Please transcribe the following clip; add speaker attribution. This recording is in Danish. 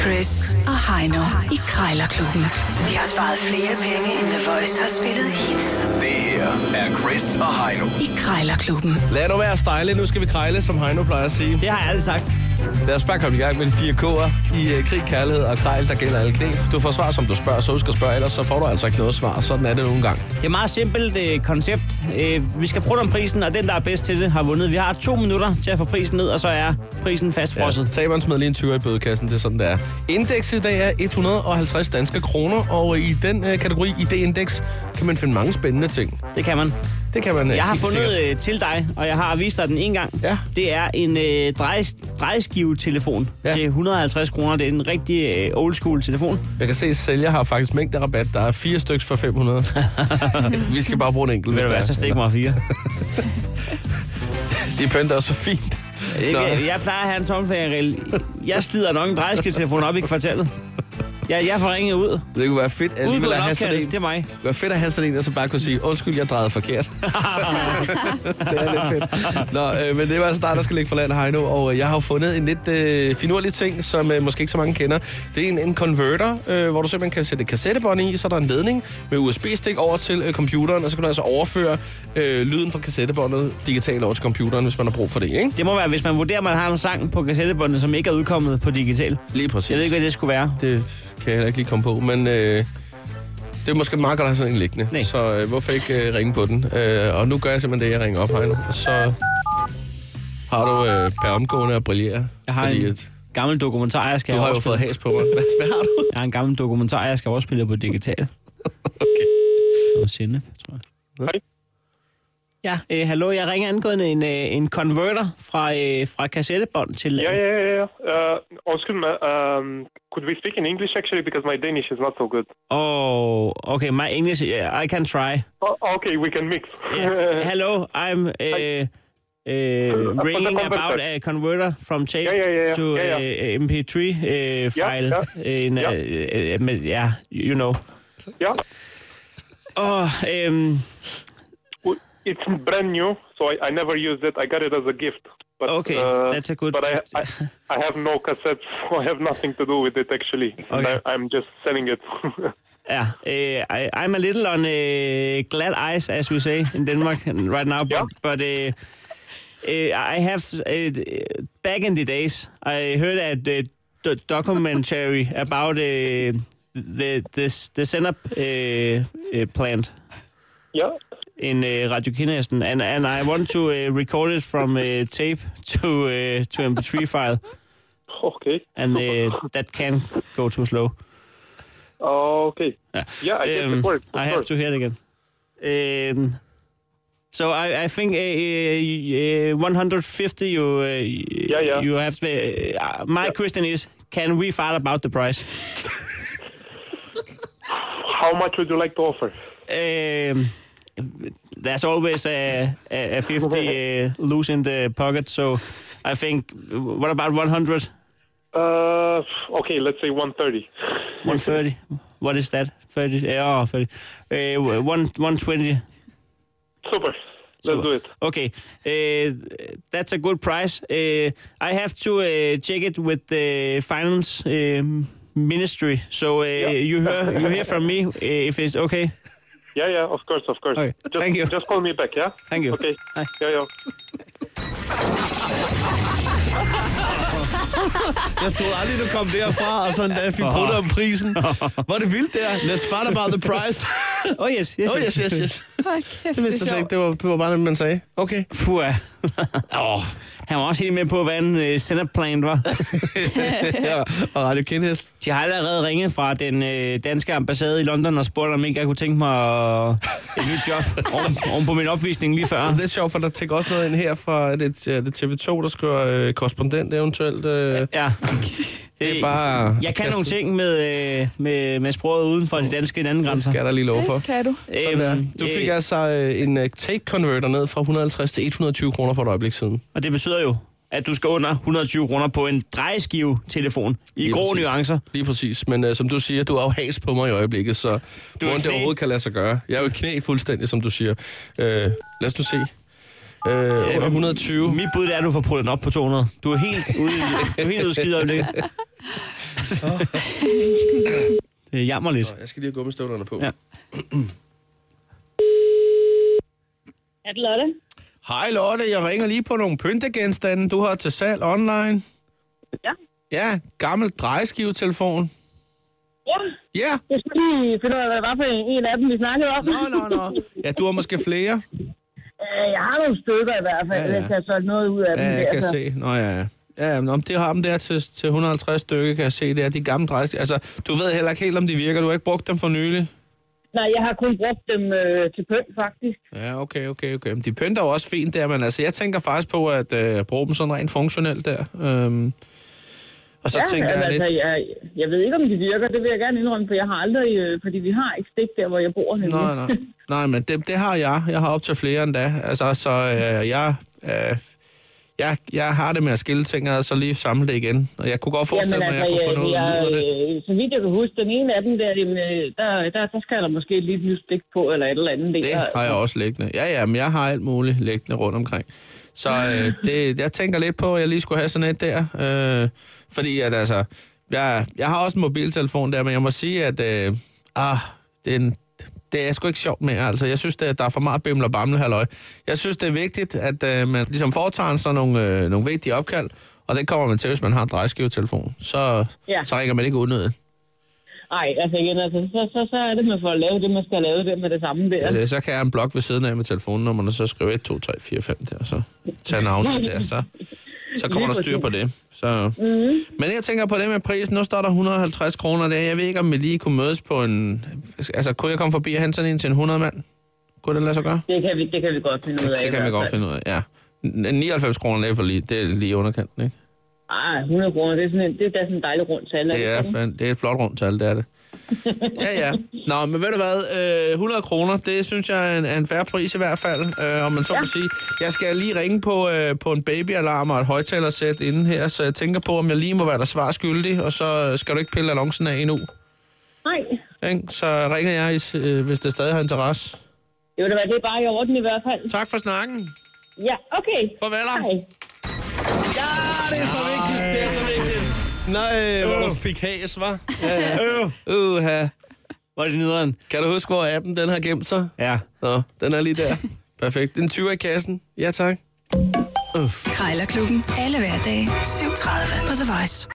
Speaker 1: Chris og Heino i Krejlerklubben. De har sparet flere penge, end The Voice har spillet hits
Speaker 2: Det her er Chris og Heino.
Speaker 1: i Krejlerklubben.
Speaker 3: Lad nu være stejle, nu skal vi krejle, som Heino plejer at sige.
Speaker 4: Det har jeg aldrig sagt.
Speaker 3: Lad os bare komme i gang med de fire K'er i øh, krig, kærlighed og krejl, der gælder alle knep. Du får svar, som du spørger, så husk at spørge, ellers så får du altså ikke noget svar. Sådan er det nogle gange.
Speaker 4: Det er et meget simpelt øh, koncept. Øh, vi skal prøve om prisen, og den, der er bedst til det, har vundet. Vi har to minutter til at få prisen ned, og så er prisen fastfrosset.
Speaker 3: Taberen smed lige en 20 i bødekassen, det er sådan, det er. Indeks i dag er 150 danske kroner, og i den øh, kategori, i det indeks, kan man finde mange spændende ting.
Speaker 4: Ja. Det kan man.
Speaker 3: Det kan man øh,
Speaker 4: Jeg har
Speaker 3: helt
Speaker 4: fundet
Speaker 3: sikkert.
Speaker 4: øh, til dig, og jeg har vist dig den en gang.
Speaker 3: Ja.
Speaker 4: Det er en øh, drejes, drejeskivetelefon
Speaker 3: Ja.
Speaker 4: ja. til 150 kroner. Det er en rigtig øh, old school telefon.
Speaker 3: Jeg kan se, at sælger har faktisk mængde rabat. Der er fire stykker for 500. vi skal bare bruge en enkelt,
Speaker 4: Ved
Speaker 3: hvis
Speaker 4: du
Speaker 3: der
Speaker 4: hvad, så
Speaker 3: er.
Speaker 4: stik mig fire.
Speaker 3: De pynter også så fint.
Speaker 4: Ikke? øh,
Speaker 3: Nå.
Speaker 4: Jeg plejer at have en tomfagerel. Jeg slider nok en drejeskivetelefon op i kvartalet. Jeg, jeg får ringet ud.
Speaker 3: Det kunne være fedt at alligevel
Speaker 4: Udgået
Speaker 3: at have sådan
Speaker 4: opkaldet,
Speaker 3: en.
Speaker 4: det er mig.
Speaker 3: Det var fedt at have sådan en, der så bare kunne sige, undskyld, jeg drejede forkert. det er lidt fedt. Nå, øh, men det var altså dig, der skal ligge for land, Heino. Og øh, jeg har jo fundet en lidt øh, finurlig ting, som øh, måske ikke så mange kender. Det er en, en converter, øh, hvor du simpelthen kan sætte et kassettebånd i, så er der en ledning med USB-stik over til øh, computeren, og så kan du altså overføre øh, lyden fra kassettebåndet digitalt over til computeren, hvis man har brug for det, ikke?
Speaker 4: Det må være, hvis man vurderer, at man har en sang på kassettebåndet, som ikke er udkommet på digital.
Speaker 3: Lige præcis.
Speaker 4: Jeg ved ikke, hvad det skulle være.
Speaker 3: Det kan jeg heller ikke lige komme på, men øh, det er måske meget godt at have sådan en liggende.
Speaker 4: Nej.
Speaker 3: Så øh, hvorfor ikke øh, ringe på den? Øh, og nu gør jeg simpelthen det, jeg ringer op Heino. Og så har du øh, per omgående at brillere.
Speaker 4: Jeg har
Speaker 3: fordi
Speaker 4: en
Speaker 3: at,
Speaker 4: gammel dokumentar, jeg skal
Speaker 3: du har jo
Speaker 4: overspille.
Speaker 3: fået has på mig. Hvad, hvad har du?
Speaker 4: Jeg har en gammel dokumentar, jeg skal overspille på digital. okay. Og sende, tror jeg.
Speaker 5: Hej.
Speaker 4: Ja, øh, hallo, jeg ringer angående en, øh, en converter fra, øh, fra kassettebånd til...
Speaker 5: Yeah, yeah, yeah. yeah. Uh, excuse me. Um, could we speak in English actually because my Danish is not so good.
Speaker 4: Oh, okay, my English, yeah, I can try.
Speaker 5: Oh, okay, we can mix.
Speaker 4: Yeah. Hello, I'm uh, uh, ringing
Speaker 5: converter.
Speaker 4: about a converter from tape
Speaker 5: Yeah, yeah, yeah, yeah.
Speaker 4: to
Speaker 5: Yeah,
Speaker 4: Uh, MP3 uh, file.
Speaker 5: yeah.
Speaker 4: In, uh, uh, um, yeah, you know.
Speaker 5: yeah.
Speaker 4: Oh, um,
Speaker 5: W- It's brand new, so I, I never used it. I got it as a gift. But, uh,
Speaker 4: Okay, that's a good
Speaker 5: But I,
Speaker 4: gift.
Speaker 5: I, I have no cassettes, so I have nothing to do with it actually. And
Speaker 4: Okay.
Speaker 5: I, I'm just selling it.
Speaker 4: yeah, uh, I, I'm a little on uh, glad eyes, as we say in Denmark right now. But,
Speaker 5: Yeah.
Speaker 4: but uh, uh, I have uh, back in the days, I heard a the d- documentary about uh, the this the setup uh, uh, plant.
Speaker 5: yeah.
Speaker 4: in uh, Radio Kinesten, and and I want to uh, record it from uh, tape to uh, to MP3 file,
Speaker 5: Okay.
Speaker 4: and uh, that can go too slow.
Speaker 5: Okay. Yeah, I guess
Speaker 4: Um,
Speaker 5: it worked.
Speaker 4: I have to hear it again. Um, so I, I think uh, uh, 150 you uh, yeah,
Speaker 5: yeah.
Speaker 4: you have to, uh, my question is can we fight about the price
Speaker 5: How much would you like to offer?
Speaker 4: um, there's always a, a, a 50 uh, loose in the pocket so I think what about 100
Speaker 5: Uh, okay, let's say 130.
Speaker 4: 130. What is that? 30. Yeah, oh, 30. Uh, one, 120.
Speaker 5: Super. Let's do it.
Speaker 4: Okay. Uh, that's a good price. Uh, I have to uh, check it with the finance um, ministry. So uh, you hear you hear from me uh, if it's okay.
Speaker 5: Yeah, yeah, of course, of course.
Speaker 4: Okay,
Speaker 5: Just,
Speaker 4: thank you.
Speaker 5: Just call me back, yeah?
Speaker 4: Thank you.
Speaker 5: Okay.
Speaker 4: Hi.
Speaker 5: Yeah, yeah.
Speaker 3: Jeg troede aldrig, du kom derfra, og sådan der fik brudt om prisen. Hvor er det vildt der. Let's fight about the price.
Speaker 4: Oh yes, yes,
Speaker 3: oh, yes, yes, yes.
Speaker 6: Hold kæft,
Speaker 3: Det, vidste jeg slet ikke. det, var, det var bare det, man sagde. Okay.
Speaker 4: Puh, oh, han var også helt med på, hvad en uh, senderplan var.
Speaker 3: Ja, og Radio Kindhest.
Speaker 4: De har allerede ringet fra den øh, danske ambassade i London og spurgt, om ikke jeg kunne tænke mig øh, et nyt job oven, oven på min opvisning lige før.
Speaker 3: Det er sjovt, for der tænker også noget ind her fra er det, er det TV2, der skriver øh, korrespondent eventuelt. Øh,
Speaker 4: Ja. altså.
Speaker 3: det er
Speaker 4: Øh,
Speaker 3: bare...
Speaker 4: Jeg kan
Speaker 3: kastet.
Speaker 4: nogle ting med, øh, med, med sproget uden for de danske landegrænser.
Speaker 3: Skal jeg da lige love for.
Speaker 6: Det kan du.
Speaker 3: Sådan der.
Speaker 4: Øhm,
Speaker 3: Du fik
Speaker 4: øh,
Speaker 3: altså øh, en øh, take-converter ned fra 150 til 120 kroner for et øjeblik siden.
Speaker 4: Og det betyder jo, at du skal under 120 kroner på en drejeskive-telefon i
Speaker 3: Lige
Speaker 4: grå
Speaker 3: præcis.
Speaker 4: nuancer.
Speaker 3: Lige præcis. Men øh, som du siger, du er jo has på mig i øjeblikket, så
Speaker 4: Du
Speaker 3: du
Speaker 4: er i
Speaker 3: hvordan det
Speaker 4: knæ.
Speaker 3: overhovedet kan lade sig gøre. Jeg er jo i knæ fuldstændig, som du siger. Øh, lad os nu se. Øh,
Speaker 4: Øhm,
Speaker 3: under 120.
Speaker 4: Mit bud det er, at du får prøvet den op på 200. Du er helt ude, i- du er helt ude i skidøjeblikket. det jammer lidt.
Speaker 3: Jeg skal lige have gummistøvlerne på.
Speaker 4: Ja.
Speaker 6: Er det Lotte?
Speaker 3: Hej Lotte, jeg ringer lige på nogle pyntegenstande, du har til salg online.
Speaker 6: Ja.
Speaker 3: Ja, gammel drejeskivetelefon.
Speaker 6: Ja,
Speaker 3: Ja,
Speaker 6: jeg skulle lige finde ud af, hvad det var for en, en af dem, vi snakkede om.
Speaker 3: nå, nå, nå. Ja, du har måske flere.
Speaker 6: Øh, jeg har nogle stykker i hvert fald,
Speaker 3: Ja,
Speaker 6: ja,
Speaker 3: ja.
Speaker 6: ja. hvis jeg har solgt noget ud af dem.
Speaker 3: Ja, jeg
Speaker 6: der,
Speaker 3: kan
Speaker 6: så.
Speaker 3: se. Nå ja, ja. Ja, men om det har dem der til, til 150 stykker, kan jeg se, det er de gamle drejeskiver. Altså, du ved heller ikke helt, om de virker. Du har ikke brugt dem for nylig.
Speaker 6: Nej, jeg har kun brugt dem øh, til pynt, faktisk.
Speaker 3: Ja, okay, okay, okay. Men de pynter jo også fint der, men altså, jeg tænker faktisk på at øh, bruge dem sådan rent funktionelt der. Øhm, og så ja, tænker jeg lidt...
Speaker 6: altså, jeg, jeg ved ikke, om de virker. Det vil jeg gerne indrømme, for jeg har aldrig... Øh, fordi vi har ikke stik der, hvor jeg bor henne.
Speaker 3: Nej, nej. Nej, men det, det har jeg. Jeg har op til flere end da. Altså, så øh, jeg, øh, jeg, jeg har det med at skille ting, og så lige samle det igen. Og jeg kunne godt forestille mig, at jeg kunne få noget
Speaker 6: altså, jeg,
Speaker 3: ud af det.
Speaker 6: øh, så vidt jeg kan huske, den ene af dem der, jamen, øh, der, der, der skal der måske lige et nyt stik på, eller et eller andet.
Speaker 3: Det
Speaker 6: der.
Speaker 3: har jeg også liggende. Ja, ja, men jeg har alt muligt liggende rundt omkring. Så øh, det, jeg tænker lidt på, at jeg lige skulle have sådan et der. Øh, fordi at altså, jeg, jeg har også en mobiltelefon der, men jeg må sige, at øh, ah, det, er en, det er sgu ikke sjovt mere. Altså, jeg synes, at der er for meget bimle og bamle halløj. Jeg synes, det er vigtigt, at øh, man ligesom foretager sådan nogle, øh, nogle vigtige opkald, og det kommer man til, hvis man har en drejeskivetelefon. Så, ja.
Speaker 6: Ja.
Speaker 3: så ringer man ikke unødigt.
Speaker 6: Nej, altså igen, altså, så, så, så er det, man får lavet det, man skal lave det med det samme der.
Speaker 3: Ja, det, Øh, så kan jeg have en blok ved siden af med telefonnummerne, og så skrive 1, 2, 3, 4, 5 der, og så tage navnet der, så, så kommer der
Speaker 6: Lige
Speaker 3: styr på
Speaker 6: præcis. Mhm.
Speaker 3: det. Så. Mm. Men jeg tænker på det med prisen. Nu står der 150 kroner der. Jeg ved ikke, om vi lige kunne mødes på en... Altså, kunne jeg komme forbi og hente sådan en til en 100 mand? Kunne det lade sig gøre?
Speaker 6: Det kan vi, det kan vi godt finde ud af.
Speaker 3: Det kan vi godt finde ud af, ja. N- 99 kroner det er for lige, det er lige i underkanten, ikke?
Speaker 6: Ah, 100 kroner, det er, sådan en, det er da sådan en dejlig rundt tal.
Speaker 3: Det er, fan- det er et flot rundt tal, det er det. Ja, ja. Nå, men ved du hvad, øh, 100 kroner, det synes jeg er en, er en færre pris i hvert fald, øh, om man så ja. må sige. Jeg skal lige ringe på, øh, på en babyalarm og et højtalersæt inden her, så jeg tænker på, om jeg lige må være der svar skyldig, og så øh, skal du ikke pille annoncen af endnu.
Speaker 6: Nej,
Speaker 3: Ikke? Så ringer jeg, hvis, øh, hvis det stadig har interesse.
Speaker 6: det vil da være, det er bare i orden i hvert fald.
Speaker 3: Tak for snakken.
Speaker 6: Ja, okay.
Speaker 3: Farvel.
Speaker 6: Hej.
Speaker 3: Ja, det er så vigtigt. Det er så vigtigt. Nej, hvor du fik has, hva'? Ja,
Speaker 4: Øh,
Speaker 3: ja. Uha.
Speaker 4: hvor er det nederen?
Speaker 3: Kan du huske, hvor appen den har gemt sig?
Speaker 4: Ja.
Speaker 3: Nå, den er lige der. Perfekt. Den 20 i kassen. Ja, tak.
Speaker 1: Krejlerklubben. Alle hverdage. 7.30 på The Voice.